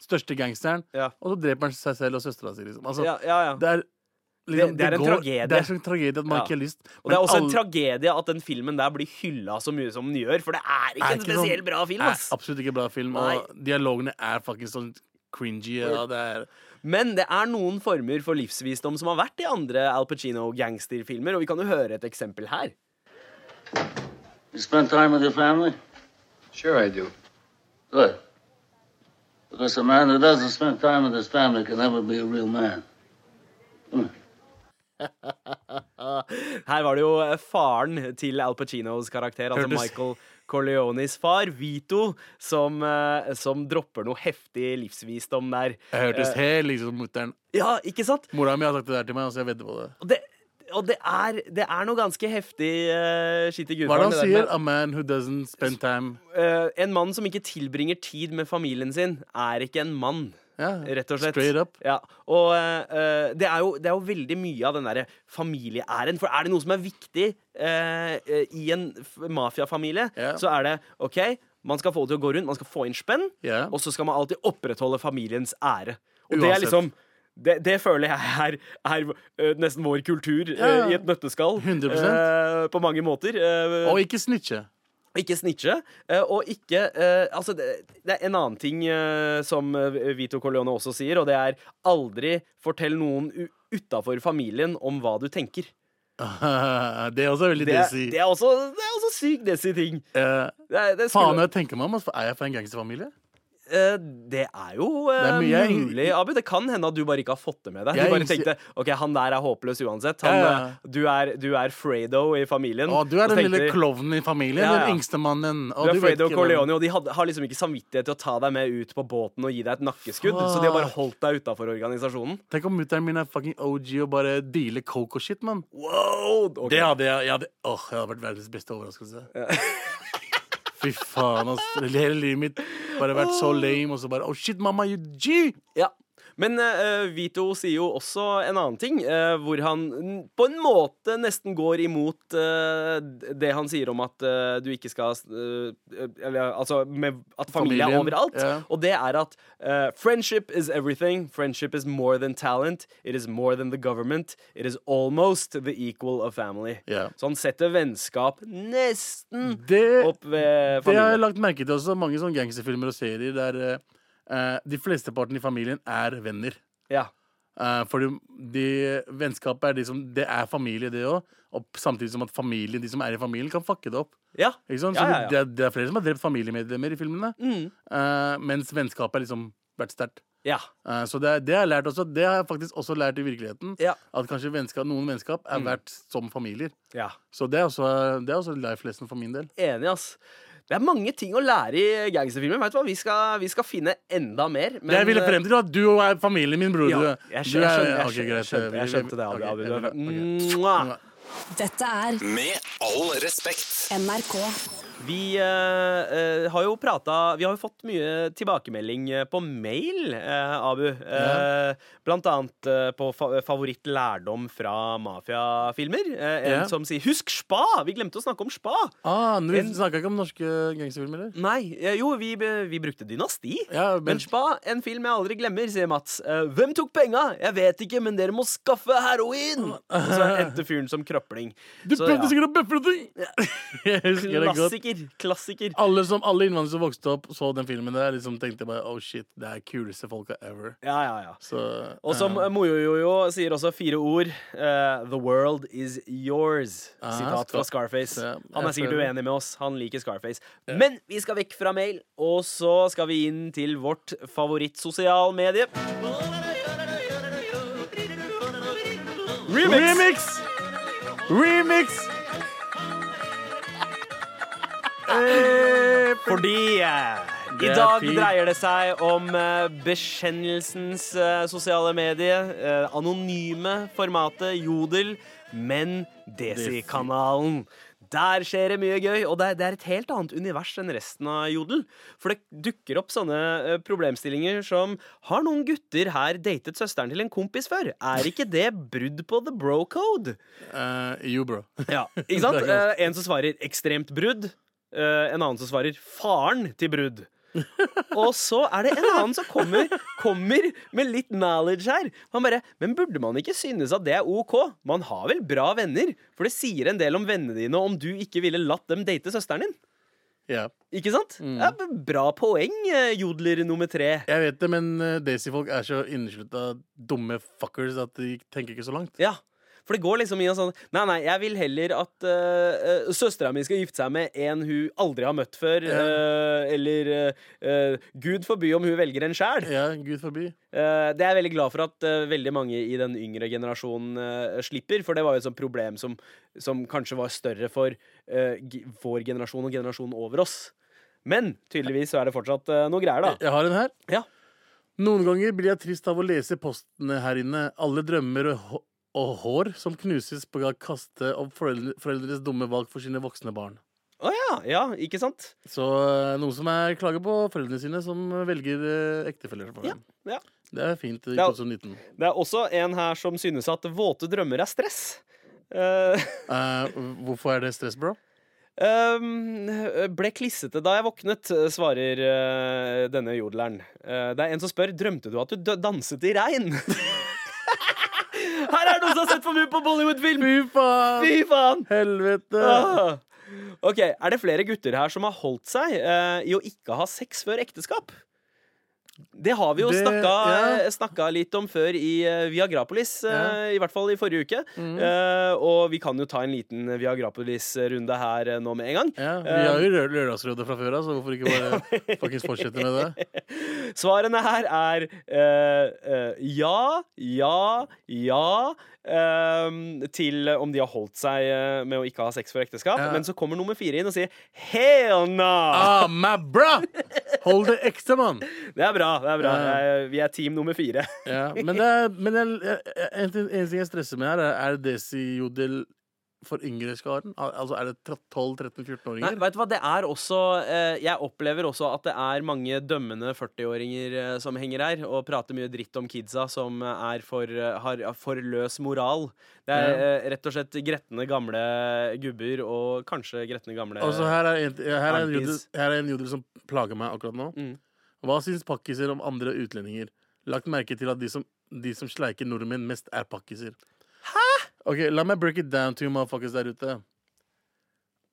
Speaker 3: største gangsteren.
Speaker 4: Ja.
Speaker 3: Og så dreper han seg selv og søstera si, liksom. Altså,
Speaker 4: ja, ja, ja.
Speaker 3: det er
Speaker 4: Det-
Speaker 3: liksom,
Speaker 4: det er en tragedie.
Speaker 3: Det er sånn tragedie at man
Speaker 4: Ja.
Speaker 3: ikke har lyst.
Speaker 4: Og det er
Speaker 3: Men
Speaker 4: også en
Speaker 3: alle-
Speaker 4: tragedie at den filmen der blir hylla så mye som den gjør, for det er ikke
Speaker 3: er
Speaker 4: en
Speaker 3: ikke
Speaker 4: spesielt
Speaker 3: sånn-
Speaker 4: bra film.
Speaker 3: er
Speaker 4: ass
Speaker 3: Absolutt ikke bra film. Og dialogene er fuckings sånn cringy. Ja, det er
Speaker 4: Men det er noen former for livsvisdom som har vært i andre Al Pacino-gangsterfilmer, og vi kan jo høre et eksempel her.
Speaker 5: You spend time with your family?
Speaker 6: Sure, I do.
Speaker 5: Good. Because a man who doesn't spend time with his family can never be a real man.
Speaker 4: Her var det jo eh, faren til Al Pacinos karakter, altså
Speaker 3: Hørtes-
Speaker 4: Michael Corleones far, Vito, som, eh, som dropper noe heftig livsvisdom der.
Speaker 3: Jeg hørtes helt liksom mutter'n.
Speaker 4: Ja, ikke sant?
Speaker 3: Mora mi har sagt det der til meg, så jeg vedder på det.
Speaker 4: Og det, og det, er, det er noe ganske heftig uh, skitt i
Speaker 3: Hva er det
Speaker 4: gudfaren.
Speaker 3: han
Speaker 4: det der
Speaker 3: sier?
Speaker 4: med-
Speaker 3: A man who doesn't spend time
Speaker 4: Eh, en mann som ikke tilbringer tid med familien sin, er ikke en mann.
Speaker 3: ja,
Speaker 4: Rett og slett.
Speaker 3: Straight up.
Speaker 4: Ja. Og eh, eh, det, er jo, det er jo veldig mye av den derre familieæren. For er det noe som er viktig eh, eh, i en f- mafiafamilie,
Speaker 3: Ja.
Speaker 4: så er det OK, man skal få det til å gå rundt, man skal få inn spenn,
Speaker 3: Ja.
Speaker 4: og så skal man alltid opprettholde familiens ære. Og det er
Speaker 3: Uansett.
Speaker 4: liksom det, det føler jeg er, er eh, nesten vår kultur eh,
Speaker 3: Ja, ja.
Speaker 4: i et nøtteskall.
Speaker 3: 100%.
Speaker 4: eh, på mange måter. eh,
Speaker 3: Og ikke snitche. *laughs*
Speaker 4: ikke snitche, eh, og ikke eh, Altså, det, det er en annen ting eh, som eh, Vito Corleone også sier, og det er aldri fortell noen u- utafor familien om hva du tenker.
Speaker 3: det er også veldig
Speaker 4: Det, er-
Speaker 3: desi.
Speaker 4: det, er, også, det er også sykt desi ting.
Speaker 3: Eh,
Speaker 4: Det er, det
Speaker 3: faen,
Speaker 4: skulle,
Speaker 3: jeg tenker meg om. altså, Er jeg fra en gangsterfamilie?
Speaker 4: eh, det er jo eh,
Speaker 3: Det er mye jeg-
Speaker 4: mulig, Abu. Det kan hende at du bare ikke har fått det med deg.
Speaker 3: Jeg
Speaker 4: Du bare
Speaker 3: innser-
Speaker 4: tenkte OK, han der er håpløs uansett. Han,
Speaker 3: Ja, ja.
Speaker 4: eh, Du, er, du er Fredo i familien.
Speaker 3: Å, du er
Speaker 4: Og
Speaker 3: den
Speaker 4: tenkte-
Speaker 3: lille klovnen i familien.
Speaker 4: Ja, ja.
Speaker 3: Den yngste mannen. Å,
Speaker 4: Du er
Speaker 3: vet
Speaker 4: Fredo
Speaker 3: ikke hvem-
Speaker 4: Corleone, og de hadde, har liksom ikke samvittighet til å ta deg med ut på båten og gi deg et nakkeskudd, så de har bare holdt deg utafor organisasjonen.
Speaker 3: Tenk om mutter'n min er fucking OG og bare dealer coke og shit, mann.
Speaker 4: Wow! ok.
Speaker 3: Det hadde jeg. jeg hadde, åh, jeg hadde vært verdens beste overraskelse. *laughs* Fy faen, ass. Hele livet mitt bare vært så lame, og så bare Oh shit, mamma, you G!
Speaker 4: Ja. Men eh, Vito sier jo også en annen ting, eh, hvor han n- på en måte nesten går imot eh, d- det han sier om at eh, du ikke skal eh, Eller altså med, at familie er
Speaker 3: Familien,
Speaker 4: overalt.
Speaker 3: ja.
Speaker 4: Og det er at eh, friendship is everything. Friendship is more than talent. It is more than the government. It is almost the equal of family.
Speaker 3: Ja.
Speaker 4: Så han setter vennskap nesten
Speaker 3: Det,
Speaker 4: opp ved
Speaker 3: det har jeg
Speaker 4: familien.
Speaker 3: lagt merke til også. Mange sånne gangsterfilmer og serier der eh, eh, de flesteparten i familien er venner.
Speaker 4: Ja.
Speaker 3: Eh, for de, de, vennskapet er de som Det er familie, det òg. Og samtidig som at familien, de som er i familien, kan fucke det opp.
Speaker 4: Ja.
Speaker 3: Ikke sant? Så
Speaker 4: Ja, ja, Mm. ja.
Speaker 3: Det, er, det er flere som har drept familiemedlemmer i filmene. Eh, mens vennskapet har liksom vært sterkt.
Speaker 4: ja.
Speaker 3: Eh, Så det, det har jeg lært også Det har jeg faktisk også lært i virkeligheten.
Speaker 4: Ja. Mm.
Speaker 3: At kanskje vennskap, noen vennskap er verdt som familier.
Speaker 4: ja.
Speaker 3: Så det er også, det er også life lesson for min del.
Speaker 4: Enig, ass. Det er mange ting å lære i gangsterfilmer. Vet du hva? Vi skal, vi skal finne enda mer. men- eh,
Speaker 3: det jeg ville frem til, var at du og er familien min, bror.
Speaker 4: Ja,
Speaker 3: du,
Speaker 4: jeg skjønner, jeg
Speaker 3: du
Speaker 4: skjønner,
Speaker 3: er-
Speaker 4: jeg
Speaker 3: ok,
Speaker 4: skjønner,
Speaker 3: greit,
Speaker 4: jeg skjønner, jeg
Speaker 3: vi-
Speaker 4: skjønte det, Abu,
Speaker 3: ok,
Speaker 4: Abu,
Speaker 3: jeg
Speaker 4: Abu.
Speaker 3: skjønner,
Speaker 4: Mwah!
Speaker 3: ok.
Speaker 6: Dette er
Speaker 1: Med all respekt.
Speaker 6: NRK.
Speaker 4: Vi eh, eh, har jo prata Vi har jo fått mye tilbakemelding eh, på mail, eh, Abu. Eh, Blant annet eh, på fa favorittlærdom fra mafiafilmer. Eh, en
Speaker 3: Ja.
Speaker 4: som sier 'Husk spa!' Vi glemte å snakke om spa.
Speaker 3: Ah, nå,
Speaker 4: En-
Speaker 3: vi snakka ikke om norske gangsterfilmer, eller?
Speaker 4: Nei, eh, jo, vi, be- vi brukte dynasti.
Speaker 3: Ja,
Speaker 4: Men
Speaker 3: men,
Speaker 4: spa, en film jeg aldri glemmer, sier Mats. Eh, Hvem tok penga? Jeg vet ikke, men dere må skaffe heroin! Og så endte fyren som krøpling.
Speaker 3: du
Speaker 4: så,
Speaker 3: prøvde
Speaker 4: ja.
Speaker 3: sikkert å bøffe noe! *laughs* Jeg husker det godt.
Speaker 4: Klassiker. Klassiker.
Speaker 3: Alle, som, alle innvandrere som vokste opp, så den filmen der, liksom tenkte bare oh shit, det er kuleste folka ever.
Speaker 4: Ja, ja, ja.
Speaker 3: Så
Speaker 4: Og som
Speaker 3: eh,
Speaker 4: Mojojojo sier også fire ord. eh, The world is yours.
Speaker 3: Ah,
Speaker 4: Sitat fra
Speaker 3: skal-
Speaker 4: Scarface.
Speaker 3: Ja,
Speaker 4: Han er
Speaker 3: jeg
Speaker 4: sikkert
Speaker 3: prøver.
Speaker 4: uenig med oss. Han liker Scarface. Men vi skal vekk fra mail, og så skal vi inn til vårt favorittsosialmedie.
Speaker 3: Remix! Remix!
Speaker 4: Fordi eh, i
Speaker 3: Det er
Speaker 4: dag
Speaker 3: fint.
Speaker 4: dreier det seg om eh, bekjennelsens eh, sosiale medie, eh, anonyme formatet Jodel, men Desi-kanalen. Der skjer det mye gøy, og det er, det er et helt annet univers enn resten av Jodel. For det dukker opp sånne eh, problemstillinger som Har noen gutter her datet søsteren til en kompis før? Er ikke det brudd på the bro code?
Speaker 3: Eh, jo, bro. *laughs*
Speaker 4: Ja, ikke sant?
Speaker 3: Det er ganske-
Speaker 4: Eh, en som svarer 'ekstremt brudd', eh, en annen som svarer 'faren til brudd'.
Speaker 3: *laughs*
Speaker 4: Og så er det en annen som kommer, kommer med litt knowledge her. Han bare, Men burde man ikke synes at det er OK? Man har vel bra venner? For det sier en del om vennene dine om du ikke ville latt dem date søsteren din.
Speaker 3: Ja.
Speaker 4: Ikke sant?
Speaker 3: Mm.
Speaker 4: Ja, men bra poeng, eh, jodler nummer tre.
Speaker 3: Jeg vet det, men eh, Daisy-folk er så inneslutta dumme fuckers at de tenker ikke så langt.
Speaker 4: Ja. For det går liksom i en sånn Nei, nei, jeg vil heller at uh, søstera mi skal gifte seg med en hun aldri har møtt før. eh, eller eh, eh, Gud forby om hun velger en sjæl.
Speaker 3: Ja, Gud forby.
Speaker 4: Eh, det er jeg veldig glad for at eh, veldig mange i den yngre generasjonen eh, slipper, for det var jo et sånt problem som, som kanskje var større for eh, g vår generasjon og generasjonen over oss. Men tydeligvis så er det fortsatt eh, noe greier, da.
Speaker 3: Jeg har en her.
Speaker 4: Ja.
Speaker 3: Noen ganger blir jeg trist av å lese postene her inne. Alle drømmer og, hå- og hår som knuses på å kaste om foreldre, foreldres dumme valg for sine voksne barn.
Speaker 4: Å ja, ja, ikke sant?
Speaker 3: Så eh, noen som er klager på foreldrene sine, som velger eh, ektefeller for dem.
Speaker 4: Ja.
Speaker 3: Det er fint i
Speaker 4: Ja.
Speaker 3: 2019.
Speaker 4: Det er også en her som synes at våte drømmer er stress. Eh, *laughs*
Speaker 3: Eh, hvorfor er det stress, bro?
Speaker 4: Um, ble klissete da jeg våknet, svarer eh, denne jodleren. Eh, det er en som spør drømte du at du dø- danset i regn. *laughs* Her er det noen som har sett for mye på Bollywood-film!
Speaker 3: Fy faen!
Speaker 4: Fy faen!
Speaker 3: Helvete!
Speaker 4: Ah. Ok, Er det flere gutter her som har holdt seg eh, i å ikke ha sex før ekteskap? Det har vi jo
Speaker 3: Det-
Speaker 4: snakka,
Speaker 3: ja.
Speaker 4: eh, snakka litt om før i eh, Viagrapolis, eh,
Speaker 3: Ja. Mm.
Speaker 4: i hvert fall i forrige uke. Eh, og vi kan jo ta en liten Viagrapolis-runde her eh, nå med en gang.
Speaker 3: Ja, vi har jo Rø- Lørdagsrådet fra før av, så hvorfor ikke bare fuckings fortsette med det?
Speaker 4: Svarene her er eh, eh, ja, ja, ja ehm, til om de har holdt seg eh, med å ikke ha sex for ekteskap.
Speaker 3: Ja.
Speaker 4: Men så kommer nummer fire inn og sier hell no!
Speaker 3: Ah, my bra! Hold det ekte, mann!
Speaker 4: Det er bra. det er bra
Speaker 3: Ja.
Speaker 4: Jeg- Vi er team nummer fire.
Speaker 3: Ja, men det er, men jeg, jeg, jeg- en, ting- en ting jeg stresser med her, er, er desijodel for yngre skaren? Al- Altså er det
Speaker 4: *laughs*
Speaker 3: 12-13-14-åringer?
Speaker 4: Nei, vet du hva, det er også eh, Jeg opplever også at det er mange dømmende 40-åringer eh, som henger her og prater mye dritt om kidsa som er for, eh, har for løs moral. Det er eh, rett og slett gretne gamle gubber og kanskje gretne gamle
Speaker 3: Altså, her er en, her er en,
Speaker 4: Aunties.
Speaker 3: jodel, her er en jodel som plager meg akkurat nå.
Speaker 4: Mm.
Speaker 3: Hva syns pakkiser om andre utlendinger? Lagt merke til at de som, de som sleiker nordmenn mest, er pakkiser. Hæ? Ok, La meg break it down to you motherfuckers der ute.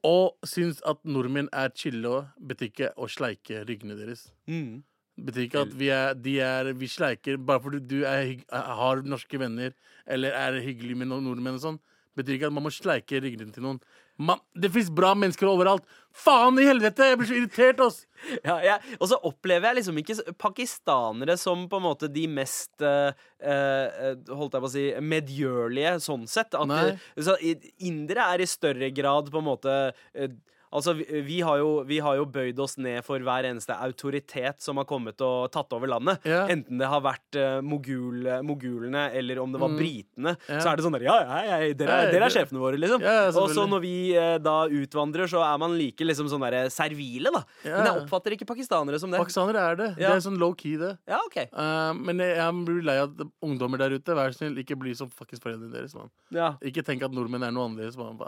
Speaker 3: Og syns at nordmenn er chille, betyr ikke å sleike ryggene deres.
Speaker 4: Mm.
Speaker 3: betyr ikke at vi, er, de er, vi sleiker bare fordi du er, hygg- har norske venner eller er hyggelig med noen nordmenn. og sånn Betyr ikke at man må sleike ryggene til noen. Man, det fins bra mennesker overalt! Faen i helvete! Jeg blir så irritert, ass!
Speaker 4: *laughs* Ja, jeg, og så opplever jeg liksom ikke s- pakistanere som på en måte de mest eh, eh, Holdt jeg på å si medgjørlige sånn sett. At
Speaker 3: Nei.
Speaker 4: eh, så i- indere er i større grad på en måte eh, Altså, vi, vi, har jo, vi har jo bøyd oss ned for hver eneste autoritet som har kommet og tatt over landet.
Speaker 3: Ja.
Speaker 4: Enten det har vært eh, mogul, mogulene, eller om det var britene.
Speaker 3: Mm. Ja.
Speaker 4: Så er det sånn der Ja, ja, ja, dere
Speaker 3: Ja,
Speaker 4: er, dere er
Speaker 3: det-
Speaker 4: sjefene våre, liksom.
Speaker 3: Ja,
Speaker 4: og så
Speaker 3: selvfølgelig.
Speaker 4: når vi eh, da utvandrer, så er man like liksom sånn derre servile, da.
Speaker 3: Ja.
Speaker 4: Men jeg oppfatter ikke pakistanere som det.
Speaker 3: Pakistanere er det. Det
Speaker 4: Ja.
Speaker 3: er sånn low key, det.
Speaker 4: Ja, ok
Speaker 3: Eh, men jeg, jeg blir lei av at ungdommer der ute. Vær så snill, ikke bli som fuckings foreldrene deres. Man.
Speaker 4: ja.
Speaker 3: Ikke tenk at nordmenn er noe annerledes. Man.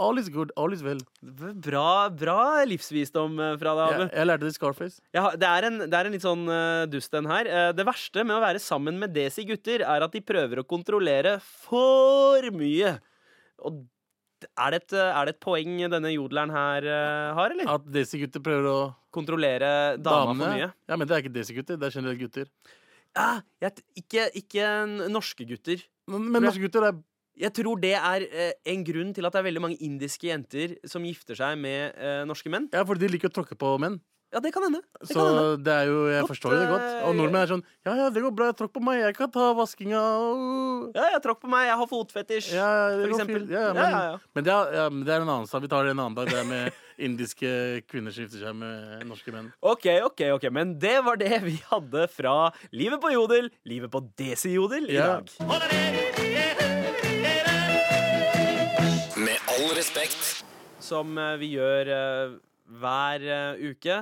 Speaker 3: All is good. All is well.
Speaker 4: B- Bra, bra livsvisdom eh, fra deg,
Speaker 3: Jeg,
Speaker 4: Abu.
Speaker 3: jeg lærte det i Scarface.
Speaker 4: Jeg har- det, er en, det er en litt sånn eh, dust en her. Eh, det verste med å være sammen med desi-gutter er at de prøver å kontrollere for mye. Og d- er det et, eh, er det et poeng denne jodleren her eh, har, eller?
Speaker 3: At desi-gutter prøver å
Speaker 4: Kontrollere dama
Speaker 3: Damene.
Speaker 4: for mye?
Speaker 3: Ja, men det er ikke desi-gutter. Det er generelt gutter.
Speaker 4: Ja, jeg, t- ikke, ikke n- norske gutter.
Speaker 3: Men, men norske gutter er
Speaker 4: Jeg tror det er eh, en grunn til at det er veldig mange indiske jenter som gifter seg med eh, norske menn.
Speaker 3: Ja, for de liker å tråkke på menn.
Speaker 4: Ja, det kan hende. Det
Speaker 3: Så
Speaker 4: kan hende.
Speaker 3: det er jo, jeg
Speaker 4: Godt,
Speaker 3: forstår jo det godt. Og
Speaker 4: eh,
Speaker 3: nordmenn er sånn Ja, ja, det går bra. Tråkk på meg. Jeg kan ta vaskinga. og-
Speaker 4: Ja, jeg tråkk på meg, jeg har fotfetisj,
Speaker 3: Ja, ja, det
Speaker 4: for
Speaker 3: går
Speaker 4: eksempel.
Speaker 3: fint. Ja, ja, men,
Speaker 4: ja, ja.
Speaker 3: men det er, ja, men det er en annen sak. Vi tar det en annen dag. Det er med *laughs* indiske kvinner som gifter seg med norske menn.
Speaker 4: Ok, ok, ok, men det var det vi hadde fra Livet på Jodel, Livet på Desijodel i
Speaker 3: Ja.
Speaker 4: dag.
Speaker 1: Med all respekt.
Speaker 4: Som eh, vi gjør eh, hver eh, uke,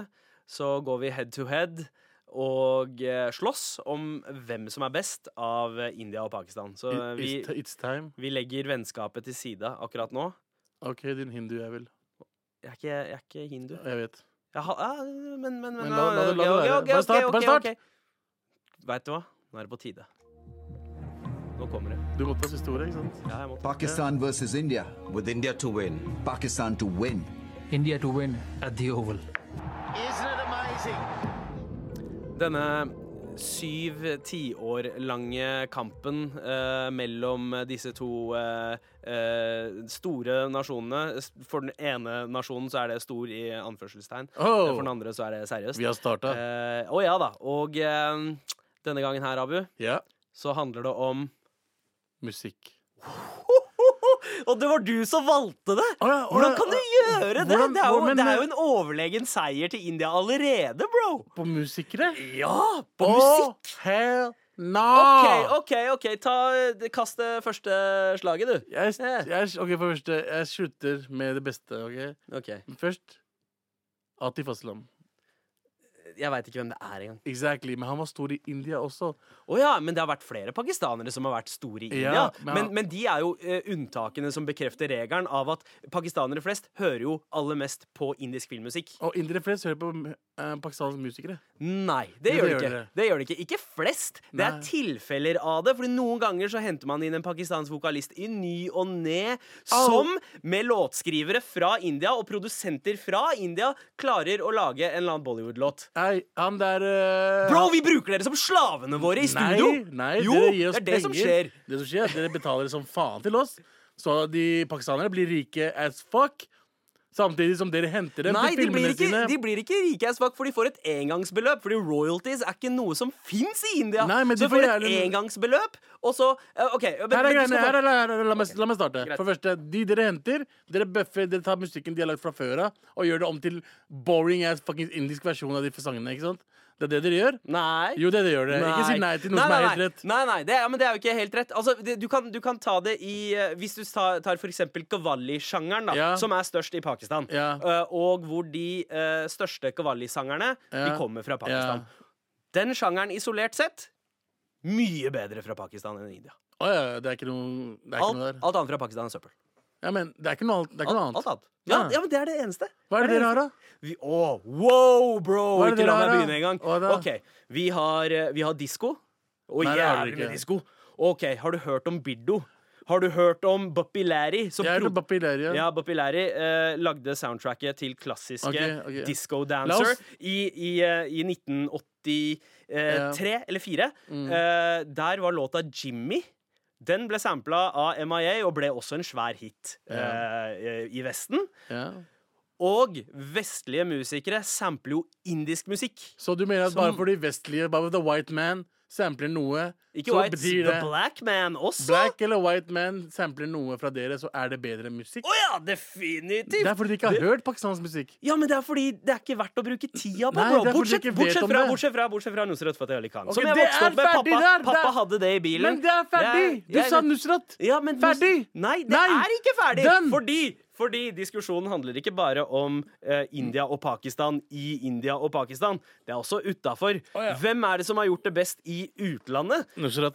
Speaker 4: så går vi head to head og eh, slåss om hvem som er best av eh, India og Pakistan. Så eh, vi,
Speaker 3: It's, it's time.
Speaker 4: vi legger vennskapet til side akkurat nå.
Speaker 3: OK, din hindu jeg vil.
Speaker 4: Jeg er ikke, jeg er ikke hindu.
Speaker 3: Jeg vet.
Speaker 4: Jeg har, ja, men, men, men,
Speaker 3: Men la- la det- la det
Speaker 4: ok,
Speaker 3: være.
Speaker 4: ok,
Speaker 3: Bare
Speaker 4: ok,
Speaker 3: start,
Speaker 4: ok,
Speaker 3: bare start.
Speaker 4: ok. Vet du hva? Nå er det på tide. Nå kommer det.
Speaker 3: Du måtte ha siste ordet, ikke sant?
Speaker 4: Ja, jeg må ta-
Speaker 6: Pakistan versus India.
Speaker 7: with India to win.
Speaker 6: Pakistan to win.
Speaker 8: India to win at the Oval.
Speaker 4: Denne syv tiår lange kampen eh, mellom disse to eh, eh, store nasjonene. For den ene nasjonen så er det stor i anførselstegn.
Speaker 3: Oh.
Speaker 4: For den andre så er det seriøst.
Speaker 3: Vi har starta.
Speaker 4: Eh, Å ja da. Og eh, denne gangen her, Abu,
Speaker 3: Ja.
Speaker 4: så handler det om
Speaker 3: Musikk.
Speaker 4: Og det var du som valgte det!
Speaker 3: Å ja, å
Speaker 4: Hvordan
Speaker 3: ja,
Speaker 4: kan du
Speaker 3: å-
Speaker 4: gjøre det?
Speaker 3: øh, hvordan- øh,
Speaker 4: det, er jo,
Speaker 3: hvordan-
Speaker 4: det er jo en overlegen seier til India allerede, bro!
Speaker 3: På musikere?
Speaker 4: Ja! På musikk!
Speaker 3: Å, hell no!
Speaker 4: OK, OK, ok, ta, øh, kast det første slaget, du.
Speaker 3: Jeg,
Speaker 4: Ja.
Speaker 3: jeg, ok, for det første, jeg slutter med det beste. ok?
Speaker 4: Ok,
Speaker 3: Først Atif Aslam.
Speaker 4: Jeg veit ikke hvem det er engang.
Speaker 3: Exactly. Men han var stor i India også.
Speaker 4: Å ja, men det har vært flere pakistanere som har vært store i India.
Speaker 3: Ja,
Speaker 4: men,
Speaker 3: men-
Speaker 4: men, de er jo eh, unntakene som bekrefter regelen av at pakistanere flest hører jo aller mest på indisk filmmusikk.
Speaker 3: Og indere flest hører på eh, pakistanske musikere.
Speaker 4: Nei, det
Speaker 3: Jo,
Speaker 4: gjør det
Speaker 3: det gjør
Speaker 4: ikke.
Speaker 3: det.
Speaker 4: Det gjør det ikke. Ikke flest. Det
Speaker 3: Nei.
Speaker 4: er tilfeller av det. Fordi noen ganger så henter man inn en pakistansk vokalist i ny og ne,
Speaker 3: Au.
Speaker 4: som med låtskrivere fra India og produsenter fra India klarer å lage en eller annen Bollywood-låt.
Speaker 3: Nei, han der eh,
Speaker 4: Bro, vi bruker dere som slavene våre i
Speaker 3: Nei,
Speaker 4: studio!
Speaker 3: nei
Speaker 4: jo,
Speaker 3: dere gir oss
Speaker 4: det er det som
Speaker 3: penger.
Speaker 4: skjer.
Speaker 3: Det som skjer er at Dere betaler som faen til oss, så de pakistanere blir rike as fuck. Samtidig som dere henter dem
Speaker 4: Nei,
Speaker 3: til
Speaker 4: de
Speaker 3: filmene
Speaker 4: blir, ikke,
Speaker 3: sine.
Speaker 4: de blir ikke rike as fuck, for de får et engangsbeløp. Fordi royalties er ikke noe som fins i India.
Speaker 3: Nei, men de
Speaker 4: så
Speaker 3: får
Speaker 4: får et
Speaker 3: jævlig-
Speaker 4: engangsbeløp, og så eh, OK. men-
Speaker 3: Her
Speaker 4: men
Speaker 3: er
Speaker 4: du
Speaker 3: greiene,
Speaker 4: skal få-
Speaker 3: her er, her er, la, meg, la meg starte.
Speaker 4: greit.
Speaker 3: For det første, De dere henter, dere bøffer, dere tar musikken de har lagd fra før av, og gjør det om til boring ass fucking indisk versjon av de sangene. ikke sant? Det er det dere gjør.
Speaker 4: Nei.
Speaker 3: Jo, det dere gjør. dere Ikke si nei til noe som er helt rett.
Speaker 4: Nei, nei, det er, men det er jo ikke helt rett. Altså, det, du, kan, du kan ta det i eh, Hvis du tar, tar for eksempel kavali-sjangeren, da,
Speaker 3: Ja.
Speaker 4: som er størst i Pakistan,
Speaker 3: Ja.
Speaker 4: eh, og hvor de eh, største kavali-sangerne De
Speaker 3: Ja.
Speaker 4: kommer fra
Speaker 3: Ja.
Speaker 4: Pakistan. Den sjangeren isolert sett mye bedre fra Pakistan enn India.
Speaker 3: Å ja, det er ikke noe, det er ikke
Speaker 4: Alt,
Speaker 3: noe der.
Speaker 4: alt annet fra Pakistan er søppel.
Speaker 3: Ja, men det er ikke noe, alt- det er ikke
Speaker 4: Alt,
Speaker 3: noe
Speaker 4: alt
Speaker 3: annet.
Speaker 4: annet. Ja,
Speaker 3: Ja.
Speaker 4: ja, men det er det eneste.
Speaker 3: Hva er det dere har, da?
Speaker 4: Vi, å, wow, bro!
Speaker 3: Hva er det
Speaker 4: Ikke la
Speaker 3: dere
Speaker 4: meg
Speaker 3: har,
Speaker 4: begynne engang.
Speaker 3: da? Hva da?
Speaker 4: Ok, Vi har, eh, vi har disko. Å,
Speaker 3: Nei, det har dere
Speaker 4: jævlig med
Speaker 3: ikke.
Speaker 4: disko. Ok, har du hørt om Biddo? Har du hørt om Buppi Larry? Som
Speaker 3: Jeg er
Speaker 4: prod-
Speaker 3: på Bapileria.
Speaker 4: ja, Buppi Larry eh, lagde soundtracket til klassiske
Speaker 3: Ok, ok.
Speaker 4: Disco
Speaker 3: La
Speaker 4: Dancer
Speaker 3: oss-
Speaker 4: i, i, eh, i 1983
Speaker 3: Ja. Mm.
Speaker 4: eller 4 Eh, der var låta Jimmy. Den ble sampla av MIA og ble også en svær hit eh, i Vesten.
Speaker 3: Ja.
Speaker 4: Og vestlige musikere sampler jo indisk musikk.
Speaker 3: Så du mener at bare fordi vestlige, bare the white man, sampler noe,
Speaker 4: Ikke
Speaker 3: så
Speaker 4: white,
Speaker 3: betyr
Speaker 4: the
Speaker 3: det
Speaker 4: black man også.
Speaker 3: Black eller white man sampler noe fra dere, så er det bedre musikk.
Speaker 4: Å ja, definitivt!
Speaker 3: Det er fordi de ikke har hørt pakistansk musikk.
Speaker 4: Ja, men det er fordi det er ikke verdt å bruke tida på,
Speaker 3: Nei,
Speaker 4: bro.
Speaker 3: det er fordi
Speaker 4: Bortsett,
Speaker 3: du ikke vet
Speaker 4: bortsett,
Speaker 3: om
Speaker 4: fra,
Speaker 3: det.
Speaker 4: bortsett fra Bortsett fra Nusrat Fateh Ali Khan.
Speaker 3: Ok,
Speaker 4: som jeg
Speaker 3: det
Speaker 4: vokste
Speaker 3: er
Speaker 4: opp med.
Speaker 3: ferdig
Speaker 4: Pappa,
Speaker 3: der,
Speaker 4: pappa
Speaker 3: der.
Speaker 4: hadde det i bilen.
Speaker 3: Men det er ferdig!
Speaker 4: Det
Speaker 3: Du
Speaker 4: er-
Speaker 3: sa Nusrat.
Speaker 4: Ja, men nå-
Speaker 3: Ferdig!
Speaker 4: Nei, det
Speaker 3: Nei.
Speaker 4: er ikke ferdig!
Speaker 3: Done.
Speaker 4: Fordi, fordi diskusjonen handler ikke bare om eh, India og Pakistan i India og Pakistan. Det er også utafor.
Speaker 3: ja.
Speaker 4: Hvem er det som har gjort det best i utlandet?
Speaker 3: Nusrat.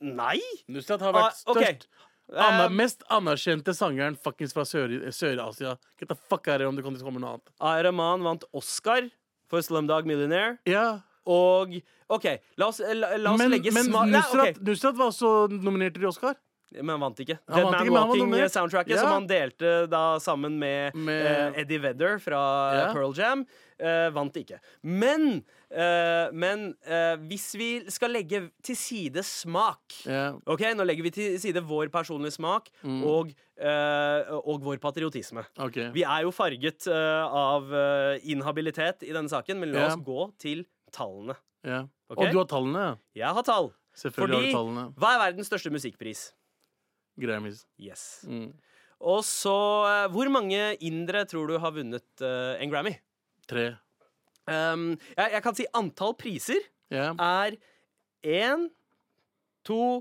Speaker 4: Nei!
Speaker 3: Nusrat har vært
Speaker 4: Ah, ok.
Speaker 3: størst. Anna,
Speaker 4: Eh,
Speaker 3: mest anerkjente sangeren fuckings fra Sør- Sør-Asia. Get the fuck out of here om det kommer til å komme noe annet.
Speaker 4: Ayraman vant Oscar for Slumdog Millionaire.
Speaker 3: Ja,
Speaker 4: Og OK, la oss, la, la oss
Speaker 3: Men,
Speaker 4: legge
Speaker 3: men
Speaker 4: sma- Nei,
Speaker 3: Nusrat,
Speaker 4: ok.
Speaker 3: Nusrat var også nominert til Oscar.
Speaker 4: Men han vant ikke.
Speaker 3: Han
Speaker 4: Dead
Speaker 3: vant
Speaker 4: Man
Speaker 3: ikke, men han var nominert.
Speaker 4: Walking-soundtracket,
Speaker 3: Ja.
Speaker 4: som han delte da sammen med,
Speaker 3: Med-
Speaker 4: eh, Eddie Vedder fra
Speaker 3: Ja.
Speaker 4: Pearl Jam, eh, vant ikke. Men, eh, men eh, hvis vi skal legge til side smak
Speaker 3: Ja.
Speaker 4: Ok, Nå legger vi til side vår personlige smak
Speaker 3: Mm.
Speaker 4: og, eh, og vår patriotisme.
Speaker 3: Ok.
Speaker 4: Vi er jo farget eh, av eh, inhabilitet i denne saken, men la
Speaker 3: Ja.
Speaker 4: oss gå til tallene.
Speaker 3: Ja.
Speaker 4: Ok.
Speaker 3: Og du har tallene, ja.
Speaker 4: Jeg har tall.
Speaker 3: Selvfølgelig
Speaker 4: Fordi
Speaker 3: har du tallene.
Speaker 4: hva er verdens største musikkpris?
Speaker 3: Grammys.
Speaker 4: Yes.
Speaker 3: Mm.
Speaker 4: Og så eh, Hvor mange indere tror du har vunnet eh, en Grammy?
Speaker 3: Tre.
Speaker 4: Um, jeg, jeg kan si antall priser
Speaker 3: Ja.
Speaker 4: er én, to,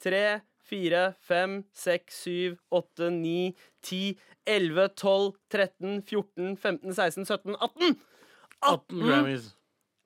Speaker 4: tre, fire, fem, seks, syv, åtte, ni, ti, elleve, tolv, 13, 14, 15, 16, 17, 18! Mm.
Speaker 3: 18 Grammys.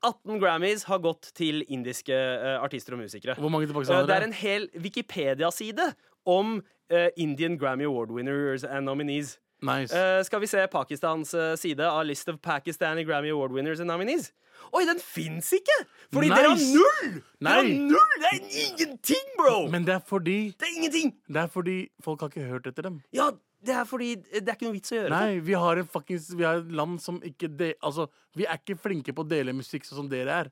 Speaker 4: 18 Grammys har gått til indiske eh, artister og musikere.
Speaker 3: Hvor mange til
Speaker 4: Eh, Det er
Speaker 3: pakistanere?
Speaker 4: en hel Wikipedia-side om eh, Indian Grammy Award winners and nominees.
Speaker 3: Nice.
Speaker 4: Eh, skal vi se Pakistans eh, side av List of Pakistani Grammy Award winners and nominees? Oi, den fins ikke! Fordi dere har
Speaker 3: Nice.
Speaker 4: null! Dere har
Speaker 3: Nei.
Speaker 4: null! Det er ingenting, bro!
Speaker 3: Men det er fordi
Speaker 4: det er ingenting!
Speaker 3: Det er fordi folk har ikke hørt etter dem.
Speaker 4: Ja, det er fordi eh, det er ikke noe vits å gjøre det.
Speaker 3: Nei, vi har, en fuckings, vi har et land som ikke de, Altså, vi er ikke flinke på å dele musikk sånn som dere er.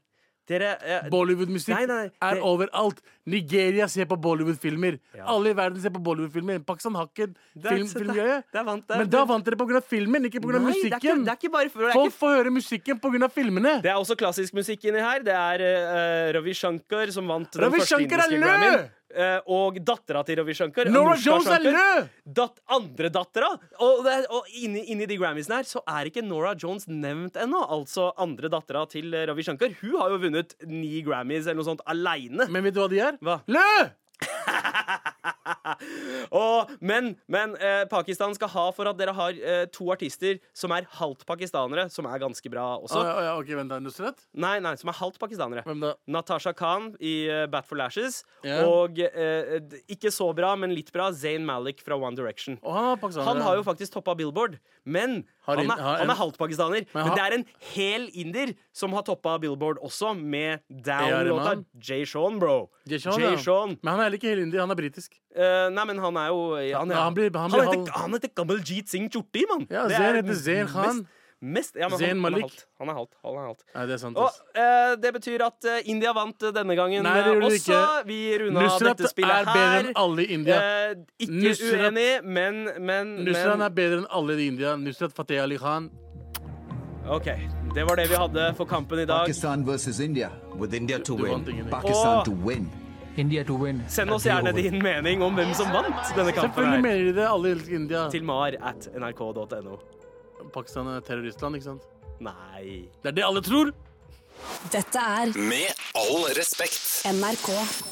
Speaker 4: Dere eh, Nei,
Speaker 3: Bollywood-musikk
Speaker 4: nei, det-
Speaker 3: er overalt. Nigeria ser på Bollywood-filmer.
Speaker 4: Ja.
Speaker 3: Alle i verden ser på Bollywood-filmer. Pakistan har ikke
Speaker 4: Det er-
Speaker 3: film,
Speaker 4: det er-
Speaker 3: filmgreie.
Speaker 4: det er vant, det er-
Speaker 3: Men da vant dere pga. filmen, ikke pga.
Speaker 4: Nei, det er ikke,
Speaker 3: musikken.
Speaker 4: det er ikke bare for, det er
Speaker 3: Folk
Speaker 4: ikke,
Speaker 3: får høre musikken pga. filmene.
Speaker 4: det er også klassisk musikk inni her. Det er eh, Ravi Shankar som vant
Speaker 3: Ravi
Speaker 4: den første
Speaker 3: Shankar er
Speaker 4: indiske
Speaker 3: lø!
Speaker 4: Grammyen. Eh, og dattera til Ravi Shankar.
Speaker 3: Norah
Speaker 4: Anushka
Speaker 3: Jones er
Speaker 4: Shankar,
Speaker 3: lø!
Speaker 4: Dat, andre dattera! Og, det er- og inni, inni de Grammysene her så er ikke Norah Jones nevnt ennå. Altså andre dattera til eh, Ravi Shankar. Hun har jo vunnet ni Grammys eller noe sånt aleine.
Speaker 3: Men vet du hva de er?
Speaker 4: Hva?
Speaker 3: Lø!
Speaker 4: Og, men men eh, Pakistan skal ha for at dere har eh, to artister som er halvt pakistanere, som er ganske bra
Speaker 3: Å,
Speaker 4: også.
Speaker 3: ja, å, ja, ok, vent da, Nusret.
Speaker 4: Nei, nei, som er halvt pakistanere.
Speaker 3: Hvem da?
Speaker 4: Natasha Khan i eh, Bat for Lashes.
Speaker 3: Ja.
Speaker 4: Og eh, d- ikke så bra, men litt bra, Zayn Malik fra One Direction.
Speaker 3: Å, han er pakistaner.
Speaker 4: Han har jo faktisk toppa Billboard, men
Speaker 3: Har
Speaker 4: han
Speaker 3: in-
Speaker 4: er,
Speaker 3: har-
Speaker 4: han er halvt pakistaner. Men,
Speaker 3: Men har-
Speaker 4: det er en hel inder som har toppa Billboard også, med
Speaker 3: er en
Speaker 4: Down-låta
Speaker 3: mann.
Speaker 4: Jay Sean, bro.
Speaker 3: Jay Sean,
Speaker 4: Jay
Speaker 3: ja.
Speaker 4: Sean.
Speaker 3: Men han er heller ikke helt indier. Han er britisk.
Speaker 4: Eh, nei, men han er jo Han, er,
Speaker 3: Ja, han blir- han blir
Speaker 4: heter,
Speaker 3: halv-
Speaker 4: han heter Kamaljeet Singh Chorti, mann!
Speaker 3: Ja,
Speaker 4: Det
Speaker 3: Zayn
Speaker 4: er
Speaker 3: heter Zayn Khan.
Speaker 4: Mest, mest, ja, men
Speaker 3: Zayn
Speaker 4: han, han er
Speaker 3: Malik.
Speaker 4: halvt. Han er halvt. Han er halvt.
Speaker 3: Nei, det er sant.
Speaker 4: Og
Speaker 3: ass.
Speaker 4: eh, det betyr at eh, India vant eh, denne gangen
Speaker 3: Nei, det
Speaker 4: eh,
Speaker 3: gjorde de
Speaker 4: også.
Speaker 3: ikke.
Speaker 4: Vi runda
Speaker 3: Nusrat
Speaker 4: dette
Speaker 3: er
Speaker 4: spillet
Speaker 3: bedre
Speaker 4: her.
Speaker 3: enn alle i India.
Speaker 4: Eh, ikke
Speaker 3: Nusrat-
Speaker 4: uenig, men, men,
Speaker 3: Nusrat
Speaker 4: men
Speaker 3: er bedre enn alle i India. Nusrat Fateh Ali Khan.
Speaker 4: OK. Det var det vi hadde for kampen i dag.
Speaker 6: Pakistan versus India.
Speaker 7: With India to
Speaker 3: Du vant
Speaker 7: win.
Speaker 3: ingenting.
Speaker 6: Pakistan
Speaker 4: Oh.
Speaker 6: to win.
Speaker 7: India to win.
Speaker 4: Send oss
Speaker 7: and
Speaker 4: gjerne
Speaker 7: deal with
Speaker 4: din mening om hvem som vant denne kampen.
Speaker 3: Selvfølgelig
Speaker 4: her
Speaker 3: mener de det, alle elsker India.
Speaker 4: Til mar at nrk.no.
Speaker 3: Pakistan er terroristland, ikke sant?
Speaker 4: Nei
Speaker 3: Det er det alle tror!
Speaker 8: Dette er
Speaker 1: Med all respekt.
Speaker 8: NRK.